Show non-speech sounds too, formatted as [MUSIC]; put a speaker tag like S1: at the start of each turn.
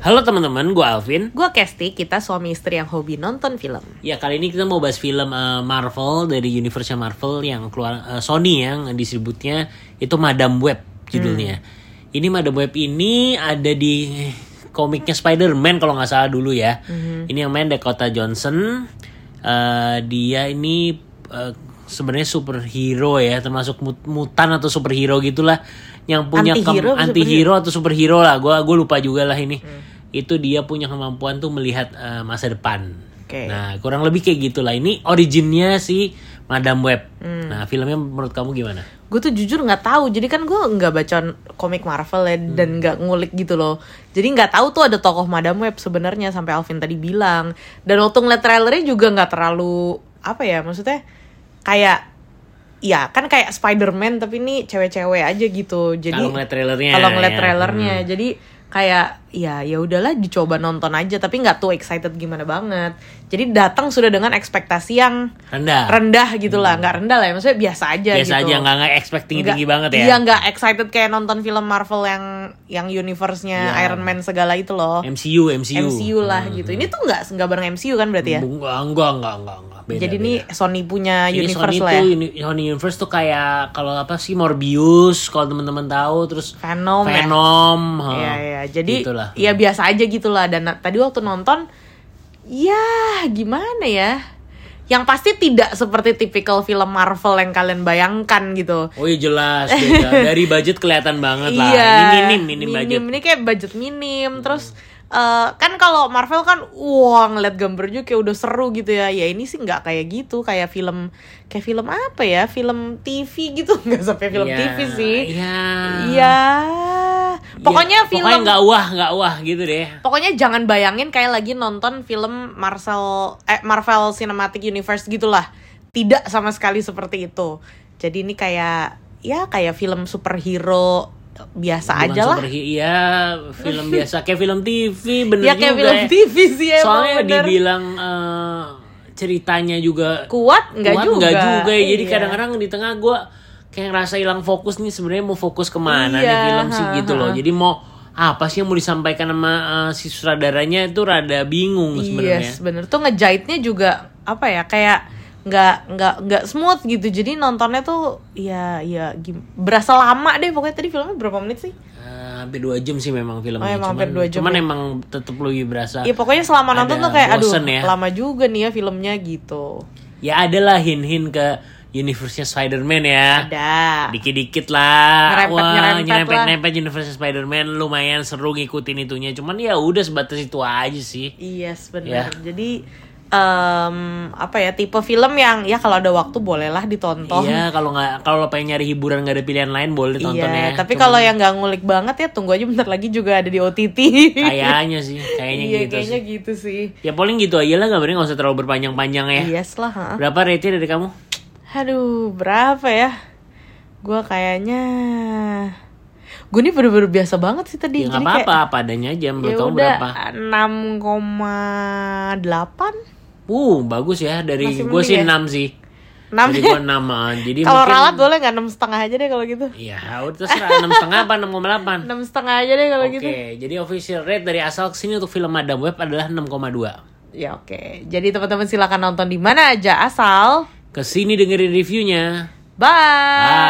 S1: Halo teman-teman, gue Alvin.
S2: Gue Kesti, kita suami istri yang hobi nonton film.
S1: Ya kali ini kita mau bahas film eh, Marvel dari universe Marvel yang keluar eh, Sony yang distributnya itu Madam Web judulnya. Ini Madam Web ini ada di komiknya Spider-Man kalau nggak salah dulu ya. Ini yang main Dakota Johnson. Eh, dia ini eh, sebenarnya superhero ya, termasuk mut- mutan atau superhero gitulah yang punya kem-
S2: Antihero apa
S1: anti hero atau superhero Hmm. lah. Gua gue lupa juga lah ini. Itu dia punya kemampuan tuh melihat eh, masa depan.
S2: Oke.
S1: Nah, kurang lebih kayak gitulah. Ini originnya si Madam Web.
S2: Hmm.
S1: Nah, filmnya menurut kamu gimana?
S2: Gue tuh jujur nggak tahu, jadi kan gue nggak baca komik Marvel ya, dan
S1: Hmm.
S2: nggak ngulik gitu loh. Jadi nggak tahu tuh ada tokoh Madam Web sebenarnya sampai Alvin tadi bilang. Dan waktu ngeliat trailernya juga nggak terlalu apa ya, maksudnya kayak ya kan kayak Spider-Man tapi ini cewek-cewek aja gitu. Jadi
S1: Kalau ngeliat trailernya.
S2: kalau ngeliat
S1: ya.
S2: trailernya
S1: Hmm.
S2: jadi kayak ya ya udahlah dicoba nonton aja tapi nggak tuh excited gimana banget jadi datang sudah dengan ekspektasi yang
S1: Hmm. rendah.
S2: rendah gitulah nggak rendah lah ya maksudnya biasa aja
S1: Biasa
S2: gitu
S1: aja nggak nggak expect tinggi tinggi banget
S2: Nggak-
S1: ya.
S2: iya nggak excited kayak nonton film Marvel yang yang universe-nya
S1: Iya.
S2: Iron Man segala itu loh
S1: MCU MCU.
S2: MCU lah
S1: Hmm,
S2: gitu ini tuh nggak nggak bareng MCU kan berarti ya
S1: Enggak enggak enggak enggak. enggak. Beda,
S2: jadi
S1: beda.
S2: ini Sony punya
S1: Jadi
S2: universe
S1: Sony
S2: lah ya
S1: tuh uni- Sony Universe tuh kayak kalau apa sih Morbius kalau teman-teman tahu terus
S2: Venom ya.
S1: Venom. ha.
S2: Iya, iya. Jadi
S1: Gitulah.
S2: ya biasa aja gitu lah dan na- tadi waktu nonton ya gimana ya? Yang pasti tidak seperti tipikal film Marvel yang kalian bayangkan gitu.
S1: Oh iya jelas beda. dari budget kelihatan banget lah. ini minim minim budget.
S2: Iya.
S1: Hmm.
S2: Ini kayak budget minim terus eh, kan kalau Marvel kan wah ngeliat gambarnya kayak udah seru gitu ya. Ya ini sih nggak kayak gitu, kayak film kayak film apa ya? Film TV gitu, [LAUGHS] nggak sampai film
S1: Iya,
S2: TV sih.
S1: Iya.
S2: Iya.
S1: Iya,
S2: Pokoknya film
S1: pokoknya nggak wah nggak wah gitu deh
S2: Pokoknya jangan bayangin kayak lagi nonton film Marvel eh Marvel Cinematic Universe gitulah. Tidak sama sekali seperti itu. Jadi ini kayak ya kayak film superhero biasa
S1: Bukan
S2: aja lah.
S1: superhero, iya film biasa kayak film TV bener
S2: Ya kayak
S1: juga
S2: film
S1: ya.
S2: TV sih ya.
S1: soalnya
S2: emang bener.
S1: dibilang eh, ceritanya juga
S2: kuat nggak
S1: kuat
S2: juga.
S1: nggak juga ya. jadi
S2: Iya.
S1: kadang-kadang di tengah gue kayak ngerasa hilang fokus nih sebenarnya mau fokus kemana nih
S2: Iya,
S1: film sih
S2: ha,
S1: gitu
S2: ha.
S1: loh jadi mau apa sih yang mau disampaikan sama eh, si sutradaranya itu rada
S2: Iya
S1: bingung sebenarnya
S2: Yes, bener tuh ngejahitnya juga apa ya kayak nggak nggak nggak smooth gitu jadi nontonnya tuh ya ya gim- berasa lama deh pokoknya tadi filmnya berapa menit sih
S1: Eh, hampir dua jam sih memang filmnya
S2: Oh,
S1: cuman,
S2: emang hampir dua jam
S1: cuman
S2: ya.
S1: emang tetep lebih berasa
S2: Iya pokoknya selama nonton
S1: Ada
S2: tuh kayak aduh
S1: Ah, bosen ya."
S2: lama juga nih ya filmnya gitu.
S1: ya adalah hin-hin ke universe-nya Spider-Man ya.
S2: Ada.
S1: Dikit-dikit lah.
S2: Nyerempet- nyerempet lah.
S1: nyerempet universe Spider-Man lumayan seru ngikutin itunya. Cuman ya udah sebatas itu aja sih. Ya.
S2: Yes benar. Iya, Jadi em, apa ya tipe film yang ya kalau ada waktu bolehlah ditonton.
S1: Iya, kalau nggak kalau lo pengen nyari hiburan nggak ada pilihan lain boleh tonton ya.
S2: Iya, tapi
S1: Cuman
S2: kalau yang nggak ngulik banget ya tunggu aja bentar lagi juga ada di OTT.
S1: kayaknya sih, Iya, kayaknya
S2: iya
S1: gitu
S2: kayaknya
S1: sih.
S2: gitu sih.
S1: Ya paling gitu aja lah gambarnya nggak usah terlalu berpanjang-panjang ya.
S2: Yes lah. ha.
S1: Berapa rating dari kamu?
S2: Aduh berapa ya? Gua kayaknya gue nih bener-bener biasa banget sih
S1: Ya
S2: tadi.
S1: nggak
S2: Jadi kayak-
S1: apa-apa, padanya aja menurut
S2: Ya
S1: kamu
S2: udah
S1: berapa?
S2: 6,8
S1: Uh, bagus ya dari
S2: Masih
S1: gue
S2: mending
S1: sih
S2: ya?
S1: 6 sih. Dari
S2: 6
S1: gue 6 ah. Jadi
S2: ya? Kalau
S1: mungkin-
S2: ralat boleh nggak 6,5 setengah aja deh kalau gitu
S1: Iya, udah terserah enam setengah apa enam koma delapan.
S2: 6,5 setengah aja deh kalau
S1: Oke,
S2: gitu
S1: jadi official rate dari asal kesini untuk film Madam Web adalah 6,2.
S2: Ya oke Jadi teman-teman silakan nonton di mana aja asal
S1: Kesini dengerin reviewnya.
S2: Bye,
S1: Bye.